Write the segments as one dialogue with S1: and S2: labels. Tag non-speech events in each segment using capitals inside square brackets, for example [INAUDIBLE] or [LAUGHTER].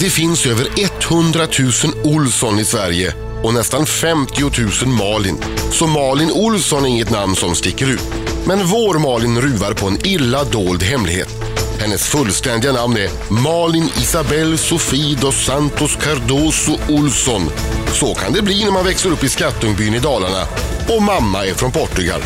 S1: Det finns över 100 000 Olsson i Sverige och nästan 50 000 Malin. Så Malin Olsson är inget namn som sticker ut. Men vår Malin ruvar på en illa dold hemlighet. Hennes fullständiga namn är Malin Isabel Sofie dos Santos Cardoso Olsson. Så kan det bli när man växer upp i Skattungbyn i Dalarna och mamma är från Portugal.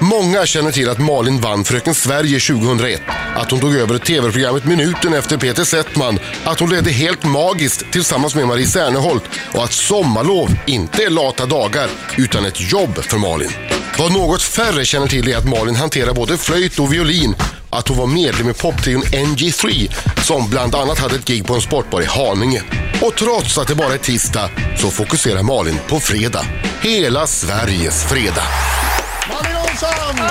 S1: Många känner till att Malin vann Fröken Sverige 2001, att hon tog över tv-programmet Minuten efter Peter Settman, att hon ledde Helt magiskt tillsammans med Marie Serneholt och att sommarlov inte är lata dagar utan ett jobb för Malin. Vad något färre känner till är att Malin hanterar både flöjt och violin, att hon var medlem i poptrion NG3 som bland annat hade ett gig på en sportbar i Haninge. Och trots att det bara är tisdag så fokuserar Malin på fredag. Hela Sveriges fredag.
S2: Malin Olsson!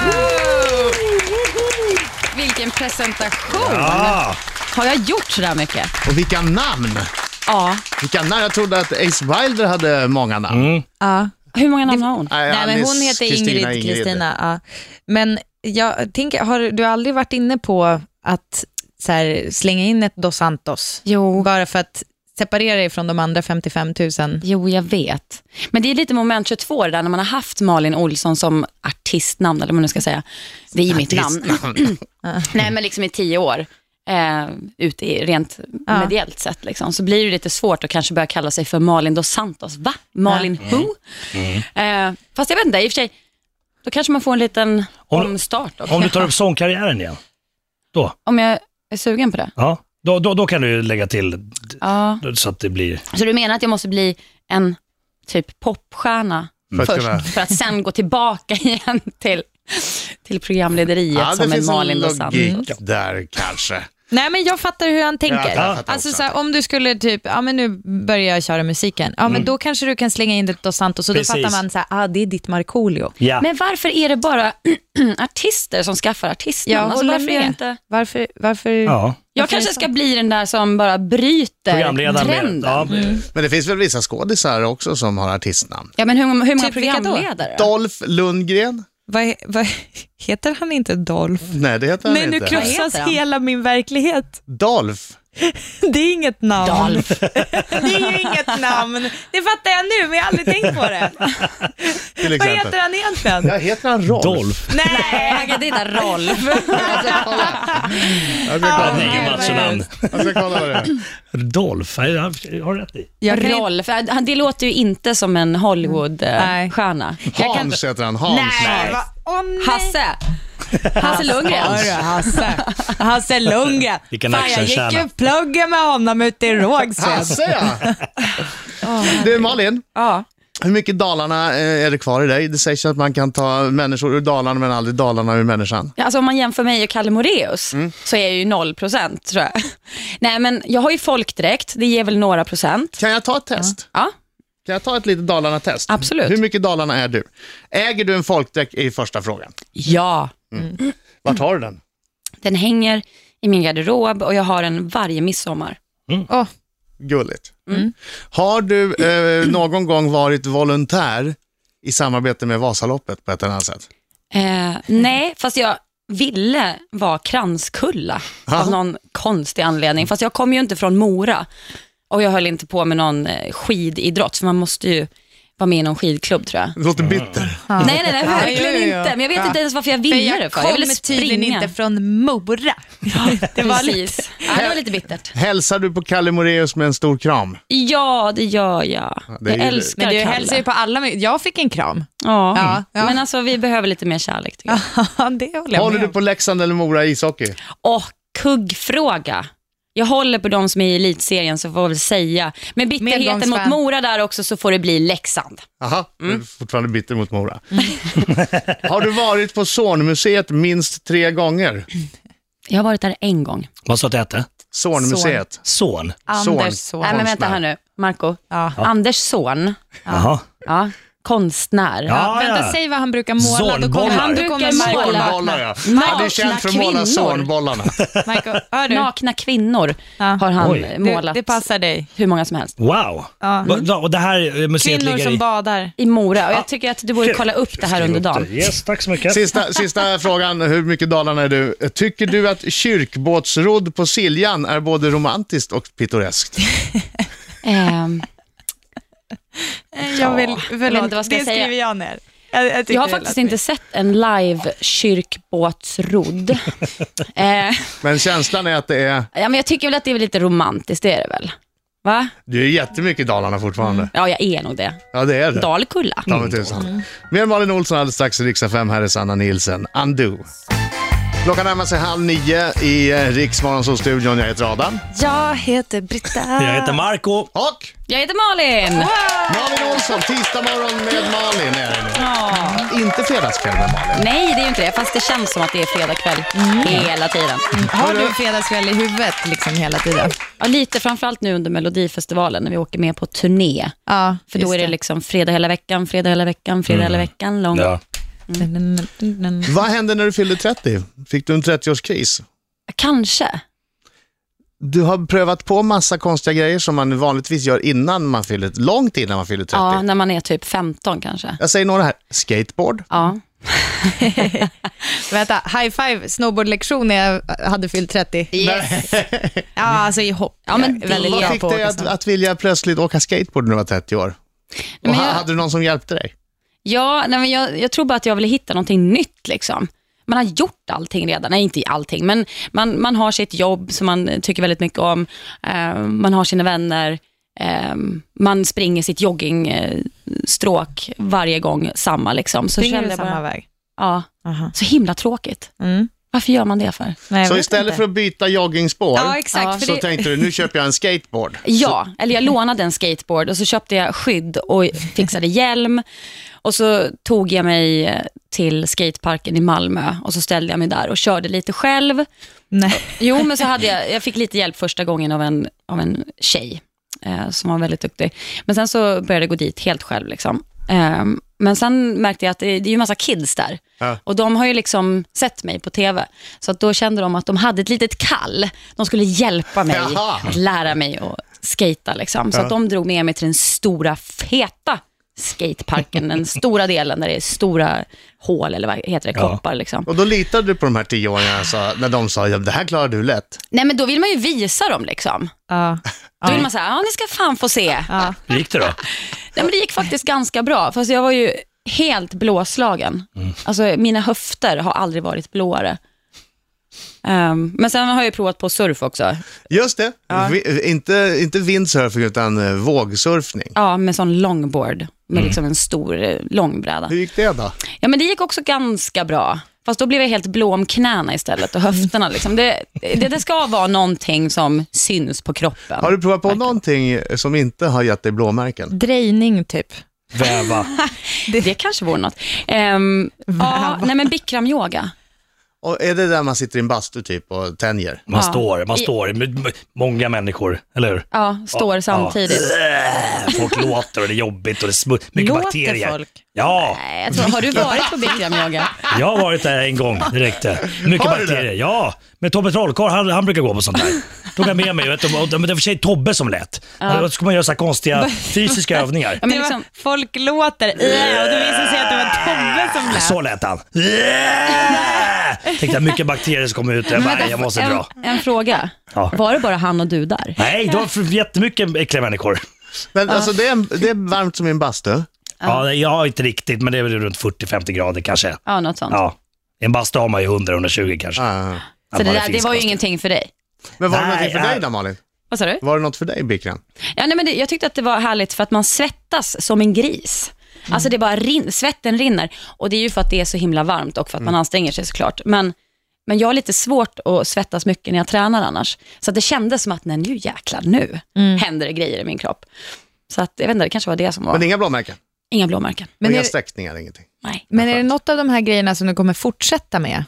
S3: Vilken presentation!
S2: Ja.
S3: Har jag gjort sådär mycket?
S2: Och vilka namn!
S3: Ja.
S2: Vilka namn! Jag trodde att Ace Wilder hade många namn.
S4: Mm.
S3: ja. Hur många namn har hon?
S2: Nej,
S5: Nej, men
S2: Alice,
S5: hon heter
S2: Kristina,
S5: Ingrid Kristina. Ja. Men jag tänker, har du aldrig varit inne på att så här, slänga in ett Dos Santos?
S3: Jo.
S5: Bara för att separera dig från de andra 55 000?
S3: jo, jag vet. Men det är lite moment 22 det där när man har haft Malin Olsson som artistnamn, eller vad man nu ska säga. Det är ju mitt namn. [LAUGHS]
S2: [CLEARS THROAT]
S3: Nej, men liksom i tio år. Eh, ute i rent mediellt sett liksom, så blir det lite svårt att kanske börja kalla sig för Malin dos Santos. Va? Malin who? Eh, fast jag vet inte, i och för sig, då kanske man får en liten
S4: Om-
S3: omstart. Också.
S4: Om du tar upp sångkarriären igen, då,
S3: Om jag är sugen på det?
S4: ja, då, då, då kan du ju lägga till
S3: Ja.
S4: så att det blir...
S3: Så du menar att jag måste bli en typ popstjärna
S2: För
S4: Mm.
S2: att
S3: först,
S2: kunna-
S3: för att sen gå tillbaka [LAUGHS] igen till, till programlederiet
S2: Ja, det
S3: som en
S2: finns en
S3: Malin Mm. dos
S2: logik
S4: Mm.
S3: Santos.
S2: där kanske.
S5: Nej, men jag fattar hur han tänker.
S2: Ja, jag fattar
S5: alltså,
S2: också.
S5: så här, om du skulle typ, ja men nu börjar jag köra musiken, ja
S2: Mm.
S5: men då kanske du kan slänga in ett Dos Santos och då
S4: Precis.
S5: fattar man så här, ah det är ditt Markoolio.
S4: Ja.
S3: Men varför är det bara [CLEARS THROAT] artister som skaffar artistnamn?
S5: Jag
S3: Alltså,
S5: håller
S3: varför är
S5: med.
S3: det inte...
S5: Varför, varför?
S4: ja.
S3: Jag kanske ska bli den där som bara bryter
S4: Programledaren.
S3: trenden.
S4: Med, ja.
S3: Ja.
S2: Men det finns väl vissa skådisar också som har artistnamn.
S3: men hur, hur många
S5: Typ vilka då?
S3: programledare?
S2: Dolph Lundgren?
S5: Vad, vad, [LAUGHS] heter han inte Dolph?
S2: Nej, det heter han
S5: Nej, nu
S2: inte.
S3: kross- Vad
S5: krossas
S3: heter han?
S5: hela min verklighet.
S2: Dolph?
S5: Det är inget namn.
S3: Dolph.
S5: [LAUGHS] Det är ju inget namn. Det fattar jag nu, men jag har aldrig tänkt på det.
S2: Till
S5: Vad
S2: exempel.
S5: heter han egentligen?
S2: Ja, heter han Rolf?
S4: Dolph.
S5: Nej,
S3: Nej, det är där Rolf.
S5: [LAUGHS] Alltså,
S2: Jag ska
S4: Ja,
S2: kolla,
S4: det är ju
S5: vad
S4: matchnamn.
S2: jag ska kolla vad det är.
S4: Dolph, jag jag har rätt i.
S5: jag kan inte.
S3: Rolf. Han- Det låter ju inte som en eh,
S5: Nej.
S3: Hollywood-stjärna.
S2: Hans heter han. Hans.
S5: Nej, vad- åh nej. [LAUGHS]
S3: Hasse. Hasse
S5: Hörru,
S3: Lundgren.
S5: Hasse. Hasse Lundgren.
S4: Vilken
S5: Fan, jag gick
S4: actionstjärna.
S5: ju pluggen med honom ute i Rågsved.
S2: Hasse ja! Ah, Du Malin,
S5: Ja.
S2: hur mycket Dalarna eh, är det kvar i dig? Det sägs ju att man kan ta människor ur Dalarna men aldrig Dalarna ur människan.
S3: Ja, Alltså om man jämför mig och Kalle Moreus
S5: Mm.
S3: så är jag ju noll procent tror jag. [LAUGHS] Nej men jag har ju folkdräkt, det ger väl några procent.
S2: Kan jag ta ett test?
S3: Ja,
S2: Kan jag ta ett litet Dalarna-test?
S3: Absolut.
S2: Hur mycket Dalarna är du? Äger du en folkdräkt i första frågan?
S3: ja.
S2: Vart har du den?
S3: den hänger i min garderob och jag har den varje midsommar.
S5: Åh,
S2: Gulligt. Har du eh, någon gång varit volontär i samarbete med Vasaloppet på ett eller annat sätt?
S3: Eh, nej, fast jag ville vara kranskulla av någon konstig anledning. Fast jag kom ju inte från Mora och jag höll inte på med någon eh, skididrott för man måste ju vara med i någon skidklubb tror jag.
S2: Det låter bitter.
S3: Nej, nej, nej, verkligen
S5: Ja, ja, ja.
S3: inte. Men jag vet inte ens varför jag ville det
S5: jag
S3: för. Jag
S5: kom
S3: ville
S5: tydligen
S3: springa.
S5: inte från Mora. [LAUGHS]
S3: Det var lite, ja, det var lite bittert.
S2: Hälsar du på Kalle Moreus med en stor kram?
S3: Ja, det gör jag.
S2: det är
S3: jag
S2: ju-
S3: älskar
S5: Men du
S3: Kalle.
S5: hälsar ju på alla. Jag fick en [LAUGHS] kram.
S3: ja.
S5: Ja, ja.
S3: Men alltså, vi behöver lite mer kärlek. tycker jag.
S5: det håller jag
S2: Håller
S5: med
S2: du
S5: om.
S2: på Leksand eller Mora i ishockey?
S3: Och kuggfråga. Jag håller på de som är i elitserien, så får jag väl säga. Med bitterheten mot
S5: Medgångsfan.
S3: Mora där också, så får det bli Leksand.
S2: Aha,
S3: Mm.
S2: du är fortfarande bitter mot
S3: [LAUGHS]
S2: Mora. Har du varit på Zornmuseet minst tre gånger?
S3: Jag har varit där en gång.
S4: Vad sa du att det hette?
S2: Zornmuseet.
S4: Son.
S5: Anders son.
S3: Nej, men vänta
S2: Konstnär.
S3: här nu, Marco.
S5: Ja.
S3: Anders son.
S4: Jaha.
S3: Ja. konstnär.
S4: Ja,
S5: Vänta,
S4: ja.
S5: säg vad han brukar måla. Då kommer
S4: Zornbollar.
S5: han
S3: Han
S5: brukar
S3: brukar måla.
S5: måla.
S2: Zornbollar ja.
S3: Nakna
S2: Han är känd för att måla
S3: kvinnor.
S2: zornbollarna.
S5: Michael, hör du?
S3: Nakna kvinnor
S5: Ja.
S3: har han
S4: Oj.
S3: eh,
S5: Det,
S3: målat
S5: det passar dig.
S3: hur många som helst.
S4: Wow.
S5: Ja.
S4: Va- va- Och det här eh, museet
S5: Kvinnor
S4: ligger
S5: som
S4: i...
S5: badar.
S3: I Mora. Och jag tycker att du borde
S4: Kul.
S3: kolla upp det här under dagen.
S4: Yes, tack så mycket.
S2: Sista, sista frågan, hur mycket Dalarna är du? Tycker du att kyrkbåtsrodd på Siljan är både romantiskt och pittoreskt?
S3: Ehm,
S5: Eh, Jag vill,
S3: Ja,
S5: förlåt,
S3: jag vet inte vad ska
S5: det
S3: jag säga.
S5: skriver jag ner. Jag, jag, tyckte
S3: jag har
S5: det
S3: faktiskt
S5: lät
S3: inte
S5: fint.
S3: sett en live kyrkbåtsrodd. eh,
S2: Men känslan är att det är,
S3: ja, men jag tycker väl att det är lite romantiskt, det är det väl? Va?
S2: du är jättemycket i Dalarna fortfarande.
S3: Ja, jag är nog det.
S2: Ja, det är det.
S3: Dalkulla.
S2: Ta mig
S3: Mm.
S2: tusan. Mer Malin Olsson alldeles strax i Riksdag 5. Här är Sanna Nielsen, Undo. Klockan närmar sig halv nio i Riksmorgonsolstudion. Jag heter Adam.
S5: Jag heter Britta.
S4: Jag heter Marco.
S2: Och
S3: Jag heter Malin.
S2: Malin Olsson, tisdag morgon med Malin är det nu.
S3: Ja.
S2: Inte fredagskväll med Malin.
S3: Nej, det är ju inte det. Fast det känns som att det är fredag kväll hela tiden.
S5: Har du fredagskväll i huvudet liksom hela tiden?
S3: Ja, lite framförallt nu under Melodifestivalen när vi åker med på turné.
S5: Ja,
S3: För då är det liksom fredag hela veckan, fredag hela veckan, fredag
S2: Mm.
S3: hela veckan. Lång.
S4: Ja.
S5: liksom...
S2: Vad hände när du fyllde 30? Fick du en 30-årskris?
S3: Kanske.
S2: Du har prövat på massa konstiga grejer som man vanligtvis gör innan man fyller, långt innan man fyller 30.
S3: Ja, när man är typ 15 kanske.
S2: Jag säger några här. Skateboard.
S3: Ja.
S5: Vänta, high five snowboardlektion när jag hade fyllt 30.
S3: Yes.
S5: Ja, alltså i hopp.
S3: Ja, men
S5: Jag är väldigt
S3: det-
S5: bra
S2: Vad
S3: Ja,
S2: fick
S5: på
S2: dig
S5: åka
S2: att,
S5: snowboard.
S2: att vilja plötsligt åka skateboard när du var 30 år? Och
S3: Men
S2: ha-
S3: jag-
S2: Hade du någon som hjälpte dig?
S3: Ja, nej, men jag, jag tror bara att jag ville hitta någonting nytt. Liksom. Man har gjort allting redan. Nej, inte allting, men man, man har sitt jobb som man tycker väldigt mycket om. Eh, man har sina vänner. Eh, man springer sitt joggingstråk varje gång samma. Liksom. Så
S5: Springer
S3: kände
S5: du
S3: jag
S5: samma
S3: bara,
S5: väg?
S3: ja,
S5: Aha.
S3: så himla tråkigt.
S5: Mm.
S3: Varför gör man det för?
S5: Nej, jag
S2: Så
S5: vet
S2: istället
S5: inte.
S2: för att byta joggingspår
S5: Ja, exakt.
S3: Ja,
S5: för
S2: så
S5: det...
S2: tänkte du, nu köper jag en skateboard.
S3: Ja, eller jag lånade en skateboard och så köpte jag skydd och fixade hjälm. Och så tog jag mig till skateparken i Malmö och så ställde jag mig där och körde lite själv.
S5: Nej.
S3: Jo, men så hade jag, jag fick lite hjälp första gången av en, av en tjej eh, som var väldigt duktig. Men sen så började jag gå dit helt själv. Liksom. Eh, men sen märkte jag att det, det är ju massa kids där.
S2: Ja.
S3: Och de har ju liksom sett mig på tv. Så att då kände de att de hade ett litet kall. De skulle hjälpa mig
S2: Jaha.
S3: att lära mig att skata. Liksom. Så att de drog med mig till den stora feta skateparken, den stora delen där det är stora hål eller vad heter det,
S4: Ja.
S3: koppar. Liksom.
S2: Och då litade du på de här tioåringarna sa- när de sa, ja, det här klarar du lätt.
S3: Nej men då vill man ju visa dem liksom.
S5: Ja.
S3: Då vill man säga, ja ni ska fan få se.
S5: Ja.
S4: Hur gick det då?
S3: Nej, men det gick faktiskt ganska bra, fast jag var ju helt blåslagen. Alltså mina höfter har aldrig varit blåare. Ehm, men sen har jag ju provat på surf också.
S2: Just det, Vi, inte, inte windsurfing utan eh, vågsurfning.
S3: Ja, med sån longboard, med liksom en stor eh, långbräda.
S2: Hur gick det då?
S3: Ja, men det gick också ganska bra. Fast då blev jag helt blå om knäna istället och höfterna. Liksom. Det, det, det ska vara någonting som syns på kroppen.
S2: Har du provat på någonting som inte har gett dig blåmärken?
S5: Drejning typ.
S4: Väva.
S3: Det kanske vore något. Ehm, ja, nej, men bikramyoga.
S2: Och är det där man sitter i en bastu typ och tänjer?
S4: Man
S3: Ja.
S4: står, man
S3: I-
S4: står. M- m- Många människor, eller hur?
S3: Ja, står
S4: Ja.
S3: samtidigt.
S4: Äh, Folk låter och det är jobbigt och det är smu- mycket
S5: Låter
S4: bakterier.
S5: folk?
S4: Ja,
S3: Nej, jag tror, har du varit på bikramyoga?
S4: jag har varit där en gång, det räckte. Mycket
S2: Har du det?
S4: bakterier. Ja, men Tobbe Trollkarl, han, han brukar gå på sånt där. Tog jag med mig, vet du, och, men det var för sig Tobbe som lät. Då ska man göra så här konstiga fysiska övningar.
S3: Ja, men
S5: det
S3: liksom,
S5: var, folk låter äh, och då visade det sig att det var Tobbe som lät.
S4: Så lät han. Tänkte jag, mycket bakterier som kommer ut. Jag, bara, jag måste
S3: en,
S4: dra.
S3: en fråga.
S4: Ja.
S3: Var det bara han och du där?
S4: Nej, det var för jättemycket äckliga människor.
S5: Ah.
S2: Men alltså det är, det är varmt som i en bastu.
S4: Ja, nej, ja inte riktigt, men det är väl runt 40-50 grader kanske.
S3: Ja, något sånt.
S4: Ja. I en bastu har man ju 100-120 kanske.
S2: Ah.
S4: Att
S3: Så det,
S4: man är
S3: där, det
S4: finsk
S3: var ju
S4: bastu.
S3: ingenting för dig.
S2: Men var det
S4: Nej,
S2: någonting för
S4: nej.
S2: dig då Malin?
S3: Vad sa du?
S2: Var det något för dig Bikram?
S3: Ja, nej, men det, jag tyckte att det var härligt för att man svettas som en gris. Alltså det bara rin, svetten rinner. Och det är ju för att det är så himla varmt och för att man anstränger sig såklart. Men, men jag har lite svårt att svettas mycket när jag tränar annars. Så att det kändes som att nej, nu jäklar, nu händer det grejer i min kropp. Så att, jag vet inte, det kanske var det som var.
S2: Men inga blåmärken?
S3: Inga blåmärken.
S5: Men
S2: inga
S5: är-
S2: sträckningar, ingenting?
S3: Nej.
S5: Men är det något av de här grejerna som du kommer fortsätta med?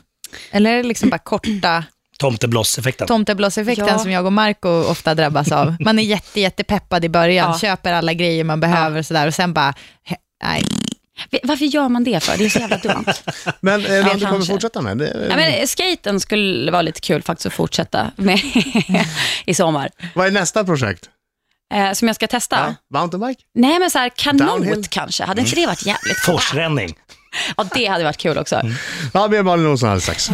S5: Eller är det liksom bara korta
S4: Tomtebloss-effekten.
S5: tomteblåseffekten
S3: Ja.
S5: som jag och Marco ofta drabbas av? Man är jätte, jätte peppad i början,
S3: Ja.
S5: köper alla grejer man behöver och sådär och sen bara, he- nej,
S3: V- Varför gör man det för? Det är så jävla dumt.
S2: Men eh, något du kommer
S3: kanske.
S2: fortsätta med? Det,
S3: ja, men, skaten skulle vara lite kul faktiskt att fortsätta med [LAUGHS] i sommar.
S2: Vad är nästa projekt?
S3: Eh, som jag ska testa.
S2: Ja, mountainbike?
S3: Nej, men så här kanot
S2: Downhill. Mm.
S3: kanske. Hade inte det varit jävligt kul?
S4: Forsränning.
S3: Ja, det hade varit kul också.
S2: Mm. Ja, mer Malin Olsson alldeles strax.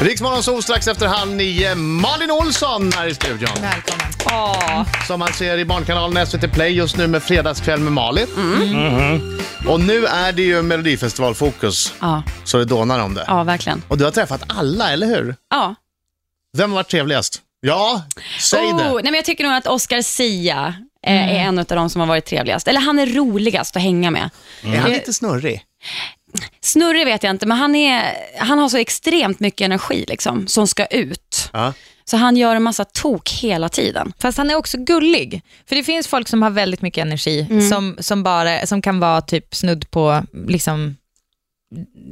S2: Riksmorgon sol strax efter halv nio. Malin Olsson här i studion.
S5: Välkommen.
S2: Som man ser i Barnkanalen SVT Play just nu med Fredagskväll med Malin. Mm-hmm. Och nu är det ju Melodifestivalfokus,
S3: Ja,
S2: så det dånar om det.
S3: ja verkligen.
S2: Och du har träffat alla, eller hur?
S3: Ja.
S2: Vem har varit trevligast? Ja, säg
S3: Oh,
S2: det. Mm.
S3: nej, men jag tycker nog att Oscar Sia eh, är en av de som har varit trevligast. Eller han är roligast att hänga med.
S2: Är han lite snurrig?
S3: Snurre vet jag inte, men han, är, han har så extremt mycket energi liksom, som ska ut.
S2: Ja.
S3: Så han gör en massa tok hela tiden.
S5: Fast han är också gullig. För det finns folk som har väldigt mycket energi,
S3: Mm.
S5: som, som, bara, som kan vara typ snudd på, liksom,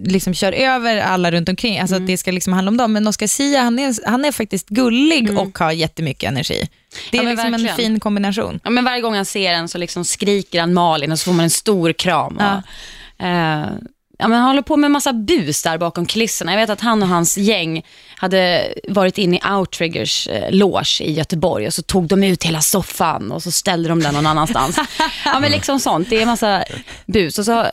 S5: liksom kör över alla runt omkring.
S3: Mm.
S5: Alltså att det ska liksom handla om dem. Men Oscar Sia, han är, han är faktiskt gullig och har jättemycket energi. Det
S3: Mm. Ja,
S5: är
S3: men
S5: liksom en
S3: verkligen.
S5: fin kombination.
S3: Ja, men varje gång han ser en så liksom skriker han Malin och så får man en stor kram. Och, eh, ja, men han håller på med en massa bus där bakom kulisserna. Jag vet att han och hans gäng hade varit inne i Outriggers eh, loge i Göteborg och så tog de ut hela soffan och så ställde de den någon annanstans. ja, men liksom sånt. Det är en massa bus. Och så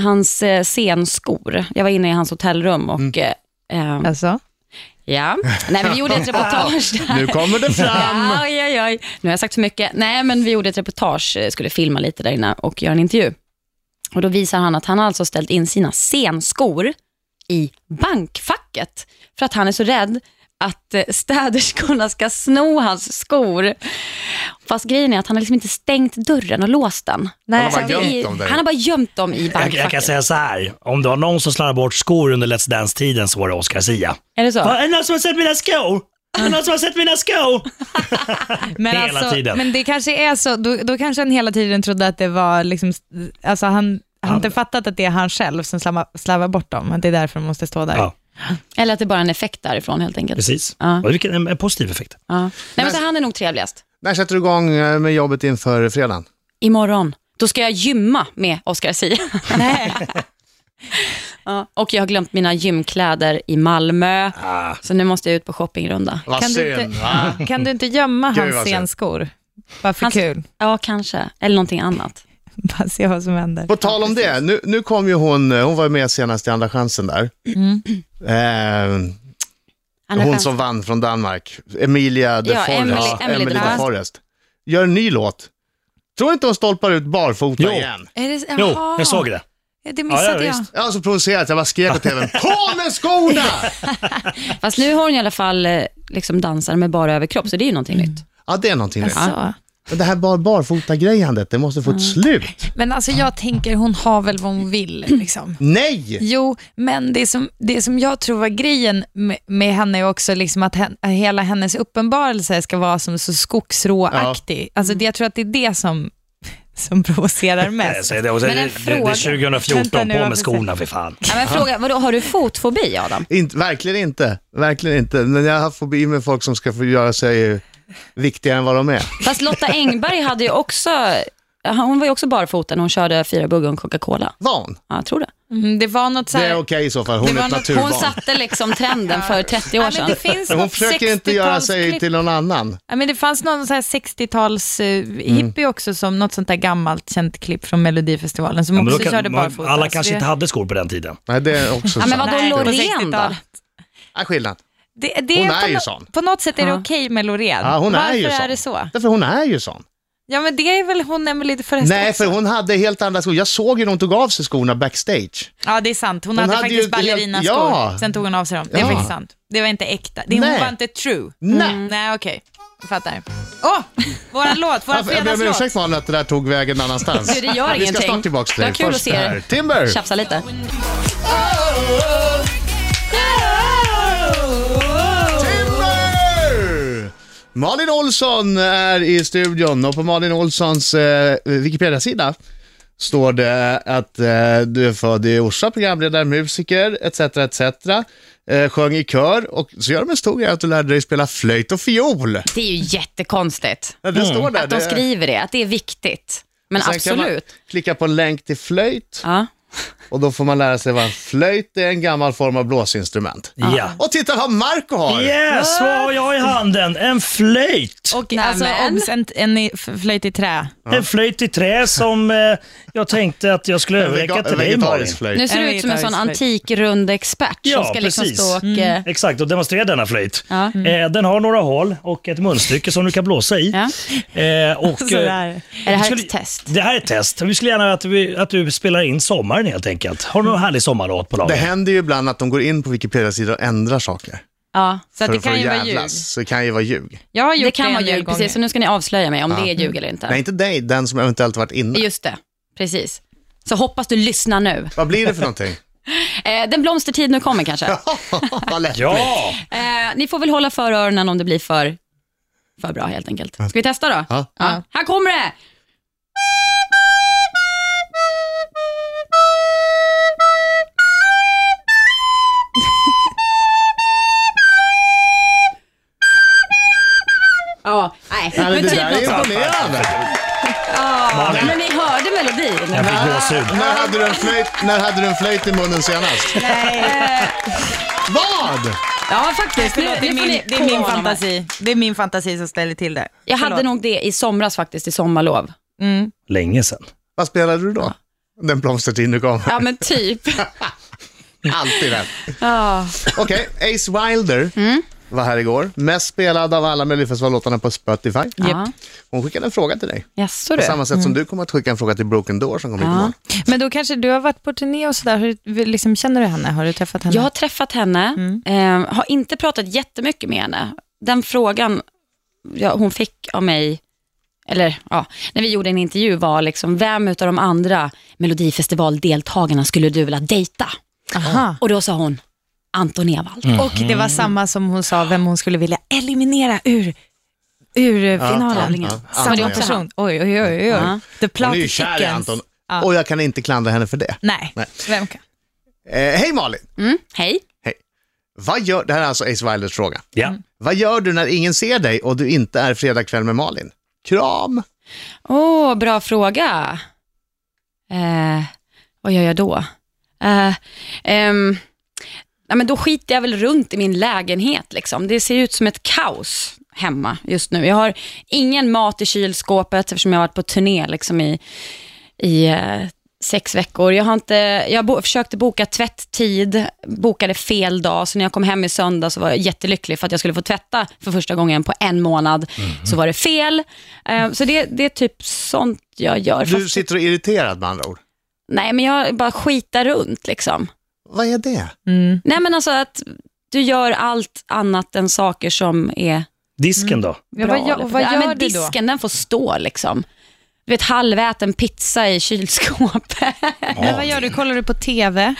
S3: hans eh, scenskor. Jag var inne i hans hotellrum och eh, eh,
S5: Alltså.
S3: ja. Nej, men vi gjorde ett reportage där.
S2: Nu kommer det fram.
S3: Ja, Oj, oj, oj. Nu har jag sagt för mycket. Nej, men vi gjorde ett reportage, eh, skulle filma lite där inne och göra en intervju. Och då visar han att han har alltså ställt in sina scenskor i bankfacket för att han är så rädd att eh, städerskorna ska sno hans skor. Fast grejen är att han har liksom inte stängt dörren och låst den.
S5: Nej.
S3: Så
S2: bara
S3: att det är-
S2: gömt dem där.
S3: han har bara gömt dem i
S4: Jag, jag kan
S3: bankfacket.
S4: säga så här. om det var någon som slarvade bort skor under Let's Dance-tiden så var det Oscar Sia.
S3: Är det
S4: Va,
S3: så?
S4: är det någon som har sett mina skor? Är det någon som har sett mina skor?
S5: Men,
S4: Hela
S5: alltså,
S4: tiden.
S5: men det kanske är så, då, då kanske han hela tiden trodde att det var, liksom, alltså han han har inte fattat att det är han själv som slarvar, slarvar bort dem, att det är därför de måste stå där.
S4: Ja,
S3: Eller att det är bara en effekt därifrån helt enkelt.
S4: precis.
S3: Ja.
S4: Och vilken en, en positiv effekt.
S3: Ja. Nej, men så han är nog trevligast.
S2: När sätter du igång eh, med jobbet inför fredagen?
S3: Imorgon, då ska jag gymma med Oscar Sia.
S5: Nej.
S3: [LAUGHS] Ja, och jag har glömt mina gymkläder i Malmö,
S4: Ah.
S3: så nu måste jag ut på shoppingrunda.
S2: Vad
S5: Kan du,
S2: synd. va?
S5: inte, kan du inte gömma
S2: Gud, vad
S5: hans
S2: synd.
S5: scenskor? Bara för
S3: Hans-
S5: kul. [LAUGHS]
S3: Ja, kanske. Eller någonting annat.
S5: Bara se vad som händer.
S2: På tal om det, nu, nu kom ju hon, eh, hon var ju med senast i Andra chansen där. Eh, hon
S3: Andra Mm. chans.
S2: som vann från Danmark, Emilia de
S3: Ja,
S2: Forest.
S3: Emily- Emily de
S2: de
S3: Forest.
S2: Forest. Gör en ny låt. Tror inte hon stolpar ut barfota
S4: Jo.
S2: igen?
S5: Är det,
S4: Jo,
S5: Jaha.
S4: jag såg det.
S5: Det missade
S4: Ja, ja,
S5: jag.
S4: visst.
S2: Jag var så provocerad att jag bara skrek åt tvn. På med skorna!
S3: Fast nu har hon i alla fall eh, liksom dansar med bara överkropp, så det är ju någonting nytt.
S2: Ja, det är någonting nytt.
S5: Alltså.
S2: Men det här bar, barfota-grejandet, det måste få
S3: Mm.
S2: ett slut.
S5: Men alltså jag tänker hon har väl vad hon vill. [CLEARS THROAT] Liksom.
S2: Nej!
S5: Jo, men det som, det som jag tror var grejen med, med henne är också liksom att hen, att hela hennes uppenbarelse ska vara som så skogsråaktig. Alltså det, jag tror att det är det som,
S2: [LAUGHS]
S5: som provocerar
S4: Jag
S5: mest.
S4: säger det, och Eh, så, det,
S3: Men en
S4: det, det
S3: fråga.
S4: är 2014,
S5: Vänta nu,
S4: på med
S5: varför-
S4: skorna för fan.
S3: Ja, men fråga, vadå, har du fotfobi, Adam?
S2: Inte, verkligen inte. Verkligen inte. Men jag har fobi med folk som ska få göra sig viktigare än vad de är.
S3: Fast Lotta Engberg hade ju också, hon var ju också barfota när hon körde fyra buggar och en Coca-Cola.
S2: Van.
S3: Ja, jag tror det.
S5: Mm, det var något så
S2: Det är
S5: här...
S2: okej i så fall. Hon
S5: Det var
S2: är ett
S5: något-
S2: naturbarn.
S3: Hon satte liksom trenden för 30 år
S5: Ja, men
S3: sedan.
S5: det finns
S2: Hon
S5: något
S2: försöker inte göra sig
S5: 60-talsklipp.
S2: till någon annan.
S5: Ja, men det fanns någon så här 60-tals eh, hippie också, som något sånt där gammalt känt klipp från Melodifestivalen som
S4: Ja, men då
S5: också
S4: kan,
S5: körde
S4: man-
S5: barfota.
S4: alla
S5: så
S4: kanske
S5: det-
S4: inte hade skor på den tiden.
S2: Nej, det är också
S3: Ja, men
S2: sant.
S3: vadå
S5: Nej, på
S3: Loreen då?
S5: 60-talet.
S2: Ja, skillnad.
S5: Det, det
S2: Hon
S5: på
S2: är ju
S5: nå-
S2: sån.
S5: På något sätt är det
S3: Ja.
S5: okej med Loreen.
S2: Ja, hon
S5: Varför
S2: är ju sån.
S5: det så?
S2: Därför hon är ju sån.
S5: Ja, men det är väl hon Emelie förresten
S2: Nej,
S5: också.
S2: för hon hade helt andra skor. Jag såg ju när hon tog av sig skorna backstage.
S5: Ja, det är sant. Hon,
S2: Hon
S5: hade,
S2: hade ju
S5: faktiskt
S2: ett helt-
S5: ballerinaskor.
S2: Ja.
S5: Sen tog hon av sig dem. Det är
S2: Ja.
S5: faktiskt sant. Det var inte äkta. Det, hon
S2: Nej.
S5: var inte true. Mm.
S3: Mm.
S2: Nej.
S5: Nej, okej. Jag fattar. Åh, våran låt, våran
S2: Jag ber om ursäkt
S5: fredagslåt.
S2: Malin att det där tog vägen någon annanstans.
S3: Du, det gör
S2: Vi ska
S3: ingenting.
S2: snart tillbaka till
S3: Det var kul att
S2: Först
S3: se
S2: det
S3: er.
S2: här. Timber!
S3: Tjafsa lite.
S2: Timber! Malin Olsson är i studion och på Malin Olssons eh, Wikipedia-sida står det att eh, du är född i Orsa, programledare, musiker etc. etc. Eh, sjöng i kör och så gör de en stor grej att du lärde dig spela flöjt och fiol.
S3: Det är ju jättekonstigt.
S2: Det står där.
S3: Att de
S2: det-
S3: skriver det, att det är viktigt. Men
S2: Sen kan man
S3: absolut.
S2: klicka på länk till flöjt
S3: Ja.
S2: och då får man lära sig vad en flöjt är, en gammal form av blåsinstrument.
S4: Ja.
S2: Och titta vad Marco har!
S4: Yes, vad har jag i handen? En flöjt.
S5: Och
S3: Nej,
S5: alltså,
S3: men.
S5: obs, en, en i- f- flöjt i trä.
S4: En flöjt i trä som eh, jag tänkte att jag skulle
S2: En vega-
S4: överräcka till
S2: en
S4: dig Malin.
S2: vegetarisk flöjt.
S3: Nu ser
S5: En
S3: du ut som en sån
S5: vegetarisk
S3: antikrund expert som
S4: Ja,
S3: ska liksom
S4: precis.
S3: stå och...
S5: Mm.
S3: eh,
S4: Exakt, och demonstrera denna flöjt.
S3: Ja. Mm.
S4: Eh, den har några hål och ett munstycke som du kan blåsa i.
S3: Ja. [LAUGHS]
S4: Eh, och, eh,
S5: Sådär.
S3: Är det
S4: vi
S3: här
S4: skulle-
S3: ett test?
S5: Mm.
S4: Det här är ett test. Vi skulle gärna att, vi, att du spelar in sommaren helt enkelt. Har du någon härlig sommarlåt på
S2: Det
S4: lager?
S2: händer ju ibland att de går in på Wikipedia-sidor och ändrar saker.
S3: Ja.
S5: Så att
S2: för,
S5: det
S2: för
S5: kan
S2: att
S5: ju vara
S2: jävlas.
S5: ljug.
S2: Så det kan ju vara ljug.
S5: Jag har gjort
S3: Det kan
S5: en
S3: vara
S5: del
S3: ljug,
S5: gånger.
S3: precis. Så nu ska ni avslöja mig om det är ljug eller inte.
S2: Nej, inte dig, den som eventuellt varit inne.
S3: Just det, precis. Så hoppas du lyssnar nu.
S2: Vad blir det för någonting?
S3: Eh, den blomstertid nu
S2: [LAUGHS]
S3: kommer kanske.
S2: Vad lätt.
S4: Ja!
S3: Eh, ni får väl hålla för öronen om det blir för, för bra helt enkelt. Ska vi testa då?
S2: Ja.
S3: Här kommer det! [LAUGHS] Ja, nej. typ
S2: Nej, men det där är
S3: något-
S2: imponerande.
S3: Ja, men ni hörde melodin.
S4: Jag fick gåshud.
S2: När hade, du en flöjt, när hade du en flöjt i munnen senast? [LAUGHS] Vad?
S3: Ja, faktiskt. Nu,
S5: Förlåt, det, är
S3: nu får
S5: min,
S3: ni
S5: det är min
S3: på honom här.
S5: fantasi. Det är min fantasi som ställer till det.
S3: Jag hade
S5: Förlåt.
S3: nog det i somras faktiskt, i sommarlov.
S4: Länge sedan.
S2: Vad spelade du då? Den blomstertid nu kom.
S3: Ja, men typ.
S2: [LAUGHS] Alltid rätt.
S3: Ja.
S2: Okej, Ace Wilder var här igår. Mest spelad av alla Melodifestivallåtarna på Spotify.
S3: Ja.
S2: Hon skickade en fråga till dig.
S3: Jaså
S2: På
S3: du.
S2: samma sätt som du kommer att skicka en fråga till Broken Door som kommer hit imorgon.
S5: Men då kanske du har varit på turné och sådär. Hur, liksom, känner du henne? Har du träffat henne?
S3: Jag har träffat henne, eh, har inte pratat jättemycket med henne. Den frågan ja, hon fick av mig, eller ja, när vi gjorde en intervju var liksom, vem utav de andra Melodifestivaldeltagarna skulle du vilja dejta?
S5: Aha.
S3: Och då sa hon, Anton Ewald.
S5: Och det
S2: Mhm.
S5: var samma som hon sa, vem hon skulle vilja eliminera ur, ur eh, finalen.
S3: tävlingen.
S2: ja.
S5: Samma
S2: Anton, ja.
S5: person. Oj, oj, oj. oj.
S3: Ja.
S5: The plot
S2: Hon är ju kär i
S5: thickens.
S2: Anton.
S5: Ja.
S2: Och jag kan inte klandra henne för det.
S5: Nej.
S2: Nej.
S5: vem kan?
S2: Eh, Hej Malin!
S3: Mm, hej.
S2: Vad gör, det här är alltså Ace Wilders fråga.
S4: Ja.
S3: Mm.
S2: Vad gör du när ingen ser dig och du inte är fredagkväll med Malin? Kram!
S3: Åh, bra fråga. Eh, vad gör jag då? Eh, ehm, nej, men då skiter jag väl runt i min lägenhet. Liksom. Det ser ut som ett kaos hemma just nu. Jag har ingen mat i kylskåpet eftersom jag har varit på turné liksom, i, i eh, sex veckor. Jag, har inte, jag bo, försökte boka tvätttid, bokade fel dag, så när jag kom hem i söndag så var jag jättelycklig för att jag skulle få tvätta för första gången på en månad,
S2: Mhm.
S3: så var det fel. Eh, så det, det är typ sånt jag gör.
S2: Du
S3: Fast,
S2: sitter och är irriterad med andra ord.
S3: nej, men jag bara skitar runt liksom.
S2: Vad är det?
S5: Mm.
S3: Nej, men alltså att du gör allt annat än saker som är
S4: Disken då?
S5: Ja,
S3: bra.
S5: vad gör-
S3: eller-
S5: vad gör
S3: ja, men
S5: du då?
S3: disken, den får stå liksom. Du vet, halväten pizza i kylskåpet. [LAUGHS]
S5: Men vad gör du? Kollar du på TV?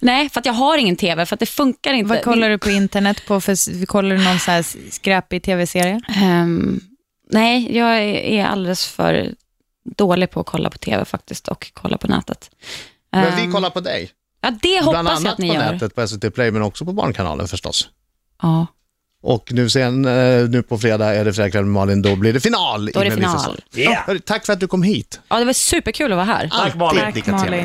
S3: nej, för att jag har ingen tv, för att det funkar inte.
S5: Vad kollar du på internet? På för, kollar du någon så här skräpig TV-serie?
S3: Ehm, nej, jag är- är alldeles för dålig på att kolla på tv faktiskt och kolla på nätet.
S2: Men vi
S3: Ehm,
S2: kollar på dig.
S3: ja, det
S2: Bland
S3: hoppas jag
S2: annat
S3: att
S2: på
S3: ni gör.
S2: nätet på SVT Play men också på Barnkanalen förstås.
S3: Ja,
S2: Och nu, sen, eh, nu på fredag är det fredagkväll med Malin, då blir det final.
S3: då är
S2: i
S3: det
S2: Melodifestivalen.
S3: final.
S4: Yeah.
S2: Hörru, Tack för att du kom hit.
S3: Ja, det var superkul att vara här.
S4: Tack, Malin.
S2: Alltid lika trevligt.